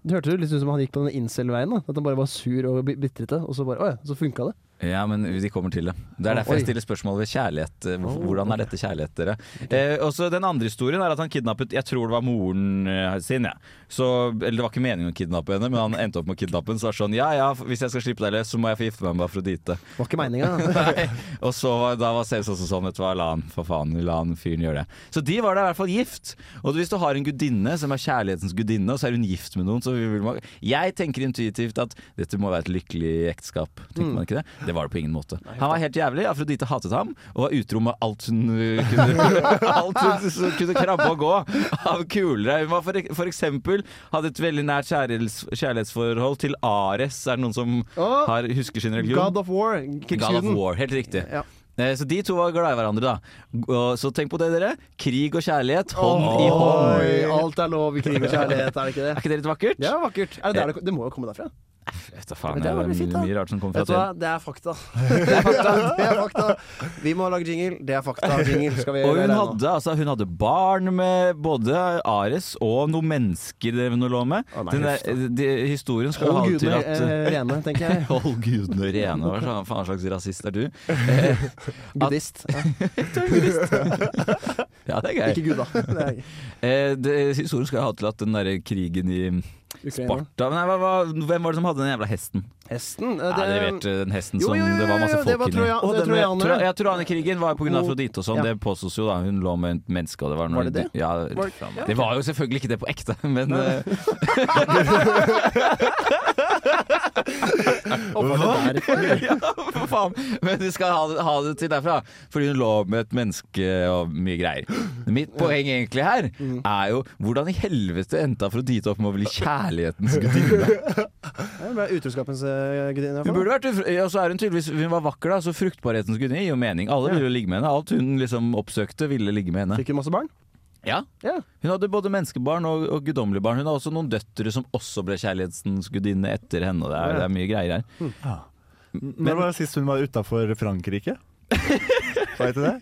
Det hørte du litt ut som han gikk på den incel-veien. da. At han bare var sur og bi- bitrete, og så bare Å ja, så funka det.
Ja, men de kommer til det. Det er
Oi.
derfor jeg stiller spørsmål ved kjærlighet. eh, hvor- Hvordan er dette kjærlighet, dere? Eh, og så Den andre historien er at han kidnappet Jeg tror det var moren eh, sin. Ja. Så, eller Det var ikke meningen å kidnappe henne, men han endte opp med å kidnappe henne. Så var det sånn, ja ja, hvis jeg skal slippe deg løs, så må jeg få gifte meg med Afrodite.
Var ikke meninga.
Nei. Og så var- da var Zeus også sånn, vet du hva, la han for faen, la han fyren gjøre det. Så de var da i hvert fall gift. Og hvis du har en gudinne som er kjærlighetens gudinne, og så er hun gift med noen, så vil man Jeg tenker intuitivt at dette må være et lykkelig ekteskap.
Mm.
Tenker man ikke det? Det var det på ingen måte. Han var helt jævlig, Afrodite hatet ham, og var utro med alt hun øh, kunne, alt hun s- kunne krabbe og gå av kulere. Hun var for, ek- for eksempel hadde et veldig nært kjærlighets, kjærlighetsforhold til Ares. Er det noen som
Å,
har, husker sin religion?
God of War,
God of
krigsguden.
War, helt riktig.
Ja.
Eh, Så de to var glad i hverandre, da. Og Så tenk på det, dere. Krig og kjærlighet, hånd i hånd.
Oi, alt er lov i krig og kjærlighet, er det ikke
Er
det?
ikke det litt vakkert?
Det er vakkert. Eh, Er det, der det, det må jo komme derfra.
Vet da faen,
Men det
jeg,
var
det
litt
er
fint, da.
mye, mye rart som kommer fra
Vet du hva,
tiden.
det er fakta. Det er fakta. Det er fakta. Vi må lage jingle. Det er fakta. Jingle skal vi
Og hun
gjøre nå.
hadde, altså, hun hadde barn med både Ares og noen mennesker hun lå med.
Å, nei,
Den
huff
der, de, historien skulle
Hold
ha til
gudene
at
eh, rene, tenker jeg.
Hold gudene rene. Hva slags- faen slags rasist er du?
Buddhist. Ja,
Ja, det er
ikke
gøy.
gud, da. Det er
Eh, det- historien skulle ha til at den derre krigen i
Ukraina.
Sparta Nei, hva, hva, Hvem var det som hadde den jævla hesten?
Hesten. eh,
Ja,
Det,
det vet du, den hesten
Jo,
som
jo, jo,
det var masse
jo, det
folk
var
inni.
trojan- det
Og
er
den med-
trojanere.
tro- Ja, trojanerkrigen var pga. Afrodite og sånn,
Ja.
det påstås jo da. Hun lå med et menneske, og det var
Var
noe
det det?
Ja,
Var-
faen. det var jo selvfølgelig ikke det på ekte, men eh,
Å, var det der?
Ja, for faen. Men vi skal ha det, ha det til derfra. Fordi hun lå med et menneske og mye greier. Mitt poeng egentlig her
Mm.
er jo hvordan i helvete endte Afrodite opp med å bli kjærlighetens gudinne?
Det ble utroskapens eh, gudinne. i hvert fall.
Hun burde vært ufru- ja, så er hun tydeligvis Hun var vakker, da, så fruktbarhetens gudinne gir jo mening. Alle ville jo ligge med henne. Alt hun liksom oppsøkte, ville ligge med henne.
Fikk hun masse barn?
Ja.
Ja.
Hun hadde både menneskebarn og, og guddommelige barn. Hun har også noen døtre som også ble kjærlighetens gudinne etter henne. og Det er, det er mye greier her.
Når var det sist hun var utafor Frankrike? Veit du det?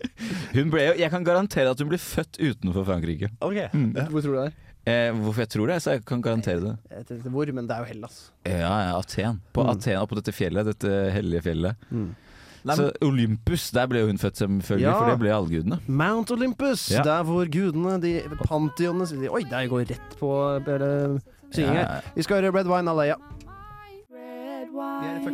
Hun ble jo, jeg kan garantere at hun ble født utenfor Frankrike.
Ok.
Hvor tror du det er?
Eh, hvorfor jeg tror det, så jeg kan garantere det. Mm.
Jeg vet ikke hvor, men det er jo Hellas.
Ja, ja, Aten. På Aten, oppå dette fjellet. Dette hellige fjellet.
Nei,
Så Olympus, der ble jo hun født, selvfølgelig,
Ja.
for det ble allgudene.
Mount Olympus,
Ja.
der hvor gudene, de pantheonene de, Oi, der går jeg rett på eh, synging
Ja,
her.
ja, ja.
Vi skal høre Red Wine Alaya.
Red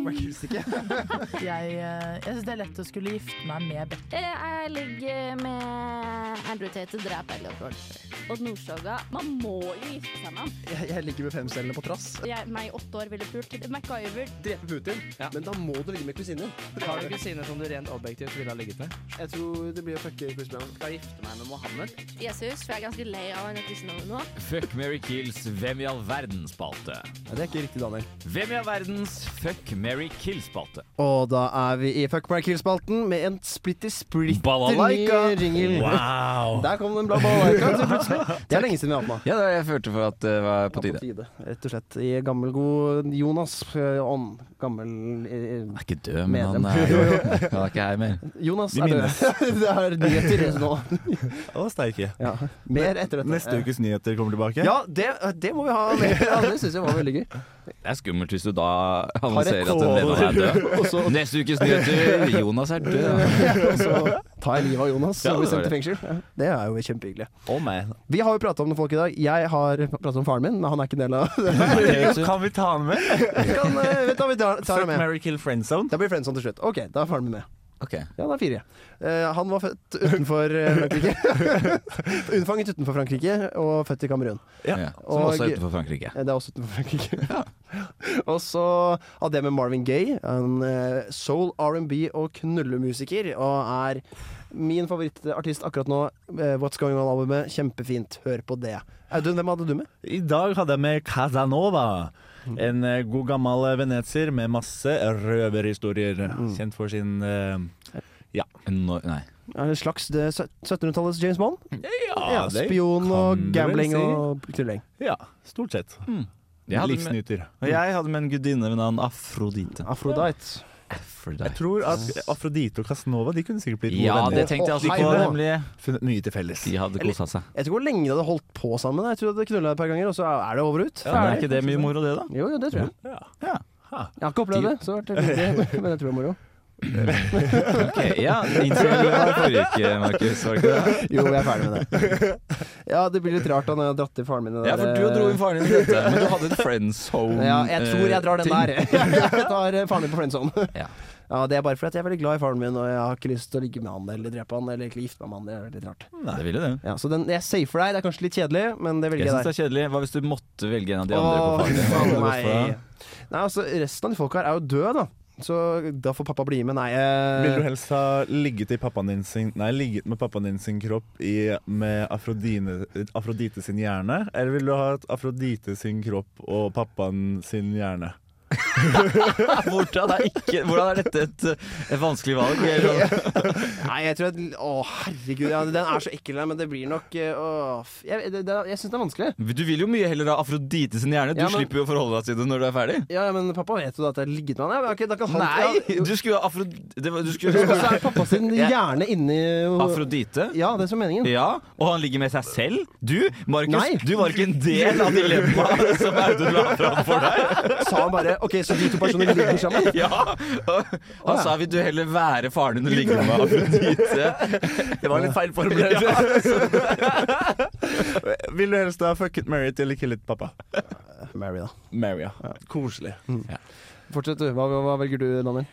Jeg, eh, jeg syns det er lett å skulle gifte meg med Beck.
Jeg ligger med Andrew Tate og dreper Elliot Rolfer. Odd Nordstoga. Man må jo gifte seg med ham.
Jeg, jeg ligger med femcellene på trass.
Jeg, meg i åtte år ville pult. MacGyver.
Drepe Putin. Men da må du ligge med kusinen.
Har du kusine som du rent objektivt ville ha ligget med?
Jeg tror det blir å fucke Chris Brown.
Skal jeg gifte meg med Mohammed?
Jesus, for jeg er ganske lei av han kristendommen nå.
Fuck Mary Kills Hvem i all verden-spalte.
det er ikke riktig, Daniel.
Hvem i all verdens Fuck Mary Kill-spalte.
Og da er vi i Fuck Mark Hill-spalten med en splitter splitter ny
Balalaika.
jingle.
Wow.
Der kom den bla balalaika så plutselig. Det er lenge siden vi har hatt den. da.
Ja, det var jeg følte for at det var på tide.
Rett og slett. I gammel god Jonas eh, ånd. Gammel eh,
Han er ikke død, men
Medlem.
han er, jo, han er ikke her mer.
Jonas
Vi
er død.
minnes.
det er nyheter nå.
Det var sterke.
Ja. Mer etter dette.
Neste ukes nyheter kommer tilbake.
Ja, det, det må vi ha med. Ja, det syns jeg var veldig gøy.
Det er skummelt hvis du da annonserer at
Har
en
et
venn av deg er død. Neste ukes nyheter Jonas er død.
Og så tar jeg livet av Jonas
Ja,
og blir
det var
sendt til fengsel. Ja, det er jo kjempehyggelig.
Oh, man.
Vi har jo prata om noen folk i dag. Jeg har prata om faren min, men han er ikke en del av det.
Kan vi ta den med?
Kan, eh, vet du hva, vi tar, tar
Fuck,
ham med.
marry, kill, friendzone.
Da blir friendzone til slutt. Ok, da er faren min med.
Ok.
Ja, det er fire. Eh, han var født utenfor eh, Frankrike. Unnfanget utenfor Frankrike og født i Kamerun.
Ja.
Ja. Som også
Og-
er utenfor Frankrike.
Eh, Det er også utenfor Frankrike. og så hadde jeg med Marvin Gaye, en eh, soul, R&B og knullemusiker, og er min favorittartist akkurat nå. Eh, What's Going On-albumet, kjempefint. Hør på det. Audun, hvem hadde du med?
I dag hadde jeg med Casanova.
Mm.
En eh, god gammel venetier med masse røverhistorier.
Mm.
Kjent for sin eh,
No, nei.
En slags det sø- 1700-tallets James Bond. Ja,
Ah, det
spion og
kan du vel
gambling
si.
og knulling.
Ja, stort sett.
Jeg hadde med,
Livsnyter.
og jeg hadde med en gudinne ved navn Afrodite.
Aphrodite.
Jeg Mm. tror at Afrodite og Casanova de kunne sikkert blitt gode
Ja, det
venner.
tenkte jeg også
Å,
på,
hei,
nemlig.
Funnet mye til felles.
De hadde kosa seg.
Jeg vet ikke hvor lenge de hadde holdt på sammen. Jeg tror de knulla et par ganger, og så er det over og ut.
Men er ikke det mye moro, det, da?
Jo, jo, det tror jeg.
Ja.
Jeg har ikke opplevd det, så det har vært veldig- men jeg tror det er moro.
Ok, ja. Din tur var forrige uke, Markus. Var det ikke det?
Jo, jeg er ferdig med det. Ja, det blir litt rart da når jeg har dratt til faren min. i det
Ja, for
der,
du
eh,
dro inn faren din i dette, men du hadde en friends home. eh,
Ja, jeg tror jeg drar den der. Jeg tar eh, faren min på friendzone.
Ja.
Ja, det er bare fordi at jeg er veldig glad i faren min, og jeg har ikke lyst til å ligge med han eller drepe han eller egentlig gifte meg med han. Det er litt rart.
Nei, det ville det.
Ja, så den, jeg safer deg. Det er kanskje litt kjedelig, men det
Jeg
velger
syns
jeg der.
det er kjedelig. Hva hvis du måtte velge en av de andre på
Åh,
faren din?
faen
Hadde du gått for
meg.
det?
Nei, altså, resten av de folka her er jo døde, da. Så da får pappa bli med. Nei, eh,
Vil du helst ha ligget, i pappaen din sin, nei, ligget med pappaen din sin kropp i, med Afrodine, Afrodite sin hjerne, eller vil du ha et Afrodite sin kropp og pappaen sin hjerne?
Hvordan er, ikke, hvordan er dette et, eh, et vanskelig valg? Eller?
Nei, jeg tror at Å, herregud. Ja, den er så ekkel, men det blir nok eh, Å, f- jeg, det, det, jeg syns den er vanskelig.
Du vil jo mye heller ha Afrodite sin hjerne. Du
Ja, men-
slipper jo å forholde deg til det når du er ferdig.
Ja, ja, men pappa vet jo da at jeg har ligget med han. Ja, men ok, da kan han
Nei!
Ja, jo.
Du skulle jo ha Afro... Det var, du skulle
Og så er pappa sin hjerne inni
Afrodite?
Ja, det er som meningen.
Ja, og han ligger med seg selv? Du, Markus,
Nei.
du var ikke en del av dilemmaet som Audun la fram for deg.
Sa han bare OK, så de to personene ligger sammen?
Ja. og Han sa vil du heller være faren din og ligge med Afrodite? Det var litt feil formulert.
Vil du helst ha fuck it, marry it eller kill it, pappa?
Mary, da.
Marry, ja. Koselig.
Fortsett, du. Hva, hva velger du, Daniel?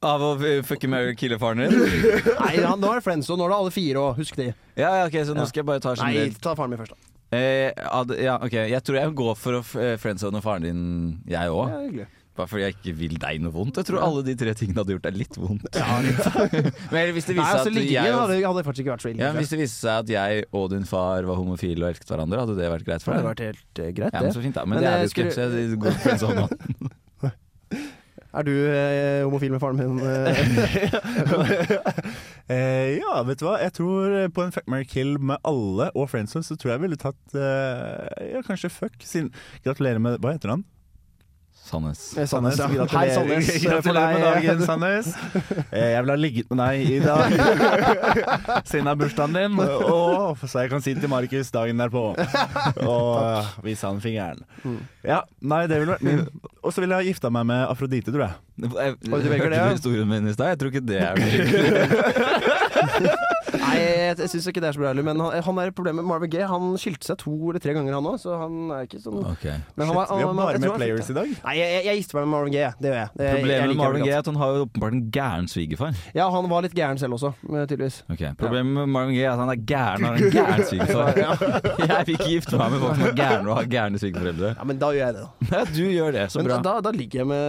Av å fucke med kille faren din?
Nei, ja, nå er det friends, og nå er det alle fire òg. Husk de.
Ja, ja, ok, så nå skal jeg bare ta
Nei,
generelt.
ta faren min først, da.
Eh, ad- ja, ok, Jeg tror jeg går for å f- eh, friendzone faren din, jeg
Ja,
òg.
hyggelig.
Bare fordi jeg ikke vil deg noe vondt. Jeg tror alle de tre tingene hadde gjort deg litt vondt. Men hvis
Nei,
det viser seg
altså,
at
liggingen
jeg
hadde, hadde faktisk ikke vært så ille.
Ja, men Hvis det viste seg at jeg og din far var homofile og elsket hverandre, hadde det vært greit
det
for
hadde
deg?
vært helt eh, greit,
Ja, men
det.
så fint da Men,
Men
det er
jeg
det jo
skulle-
ikke, så det går for en sånn da.
Er du eh, homofil med faren min? Eh,
Eh, ja, vet du hva? Jeg tror eh, på en fuck, marry, kill med alle og friendzone, så tror jeg jeg ville tatt eh, ja, kanskje fuck. Siden, gratulerer med Hva heter han?
Sandnes.
Sandnes, ja.
gratulerer.
Hei, Sandnes.
Gratulerer med
For deg.
dagen, Sandnes. Eh, Jeg vil ha ligget med deg i dag, siden det er bursdagen din. Og, så jeg kan si til Markus dagen derpå. Og eh, vise han fingeren.
Mm.
Ja, nei, det ville vært min. Og så ville jeg ha gifta meg med Afrodite, tror jeg.
Jeg,
Oi, du velger det,
hørte
ja.
du historien min i stad? Jeg tror ikke det er mulig.
Nei, jeg, jeg syns ikke det er så bra heller, men han, han er problemet med Marvin Gaye. Han skilte seg to eller tre ganger, han òg, så han er ikke sånn
Ok
Men han var-
Vi
han-
har
jeg
bare
tror
med
han-
players i dag.
Nei, jeg, jeg, jeg gifter meg med Marvin Gaye. Det gjør jeg. Det- jeg- jeg
Problemet med
liker
Marvin
veldig
Gaye
godt.
er at han har jo åpenbart en gæren svigerfar.
Ja, han var litt gæren selv også, eh, tydeligvis.
Ok, Problemet med Marvin Gaye er at han er gæren og har en gæren svigerfar. Jeg vil ikke gifte meg med folk som er gærne og har gærne svigerforeldre.
Ja, men da gjør jeg det, da.
Ja, du gjør det, så
Men
bra.
da, da ligger jeg med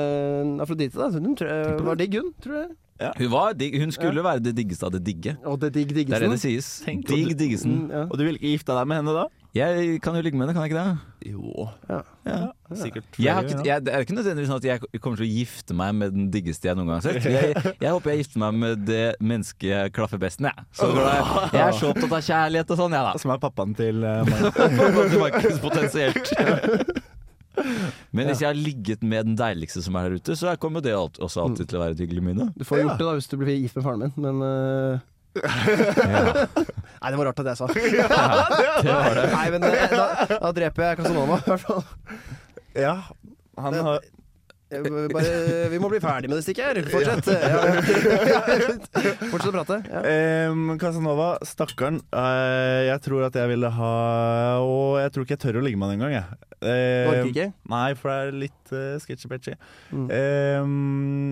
Afrodite, da. Hun tror jeg, var digg, hun, tror jeg.
Hun, var digg, hun skulle være det diggeste av det digge.
Og det er digg
Det er det
diggesen.
det sies. Digg diggesen.
Mm, ja.
Og du ville ikke gifta deg med henne da?
Jeg kan jo ligge med henne, kan jeg ikke det?
Jo,
Ja.
sikkert.
Jeg har ikke, jeg, det er ikke nødvendigvis sånn at jeg kommer til å gifte meg med den diggeste jeg noen gang har sett. Jeg, jeg håper jeg gifter meg med det mennesket jeg klaffer best med. jeg. Så glad jeg- jeg er så opptatt av kjærlighet og sånn, jeg, da.
Som er pappaen til eh, Markus.
Til Markus potensielt. Men hvis jeg har ligget med den deiligste som er her ute, så kommer det alt, også alltid til å være et hyggelig minne.
Du får gjort det da hvis du blir gift med faren min, men eh, Nei, det var rart at jeg sa. Nei, men eh, da, da dreper jeg Casanova, i hvert fall.
Ja, han har
Jeg vil Bare, vi må bli ferdig med det stikket her. Fortsett. Ja. Fortsett å prate. Ja.
Ehm, Casanova, stakkaren. Eh, jeg tror at jeg ville ha Og jeg tror ikke jeg tør å ligge med han engang, jeg.
Du
Uh,
Um,
orker ikke?
Nei, for det er litt uh, sketchy-petchy.
Mm.
Ehm,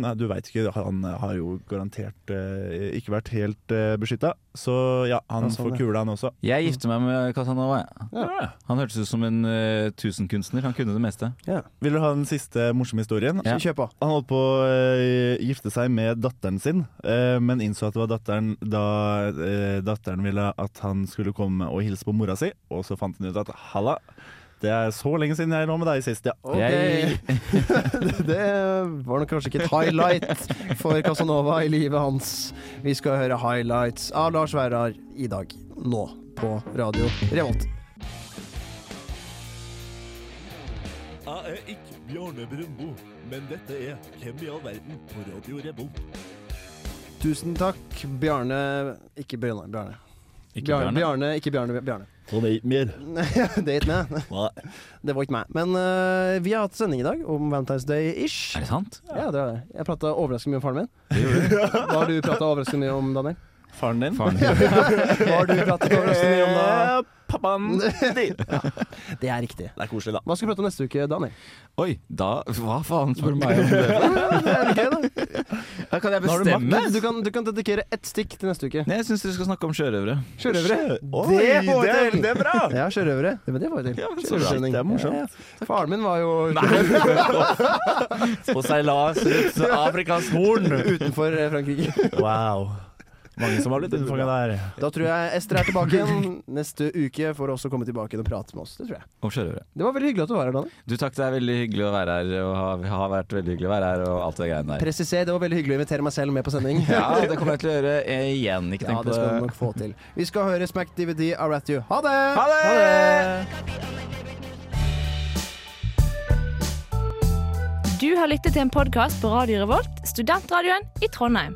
nei, du veit ikke. Han har jo garantert eh, ikke vært helt uh, beskytta. Så ja, han
Ja, sånn,
får
ja.
kula, han også.
Jeg gifter meg med Casanova. jeg.
Ja.
Han hørtes ut som en eh, tusenkunstner. Han kunne det meste.
Vil du ha den siste morsomme historien?
Ja.
Kjør på.
Han holdt på å eh, gifte seg med datteren sin, eh, men innså at det var datteren da eh, datteren ville at han skulle komme og hilse på mora si, og så fant han ut at halla, det er så lenge siden jeg lå med deg sist, ja.
Ok. det var nok kanskje ikke et highlight for Casanova i livet hans. Vi skal høre highlights av Lars Vaular i dag, nå, på Radio Revolt.
Jeg er ikke Bjarne Brumbo, men dette er Hvem i all verden på Radio Revolt.
Tusen takk, Bjarne Ikke Bjarne. Bjarne.
Ikke
Bjarne,
Bjarne.
Bjarne ikke Bjarne. Bjarne.
Han er ikke mer.
det er ikke meg. Det var ikke meg. Men eh, vi har hatt sending i dag om Valentine's Day-ish.
Er det sant?
Ja, det var det. Jeg prata overraskende mye om faren min. Hva har du prata overraskende mye om, Daniel?
Faren din?
Faren din.
Hva har du pratet overraskende mye om da?
Eh, Pappaen din.
Det er riktig.
Det er koselig, da.
Hva skal vi prate om neste uke, Daniel?
Oi, da Hva faen spør du meg om det?
Det er gøy, da.
Da kan jeg
Da har du,
bestemme.
makt. du, kan, du kan dedikere ett stikk til neste uke.
Nei, jeg syns dere skal snakke om sjørøvere.
Sjørøvere.
Oi,
Det får vi
det,
til!
det er bra!
Ja, sjørøvere. Det, men det får vi til.
Ja, men så bra.
Sjørøversending.
Det er morsomt.
Ja, ja. Faren min var jo
På seilas rundt Afrikas horn.
utenfor eh, Frankrike.
Wow. Mange som har blitt unnfanga der.
Da tror jeg Ester er tilbake igjen neste uke for å også komme tilbake igjen og prate med oss. Det tror jeg.
Om sjørøvere.
Det var veldig hyggelig at du var her, Daniel.
Du, takk, det er veldig hyggelig å være her, og har, har vært veldig hyggelig å være her, og alt det greiene der.
Presiser, det var veldig hyggelig å invitere meg selv med på sending.
Ja, det kommer jeg til å gjøre eh, igjen. Ikke
Ja,
tenk
det skal du
på det.
nok få til. Vi skal høre Smack DVD av Rat You. Ha det!
Ha det!
Du har lyttet til en podkast på Radio Revolt, studentradioen i Trondheim.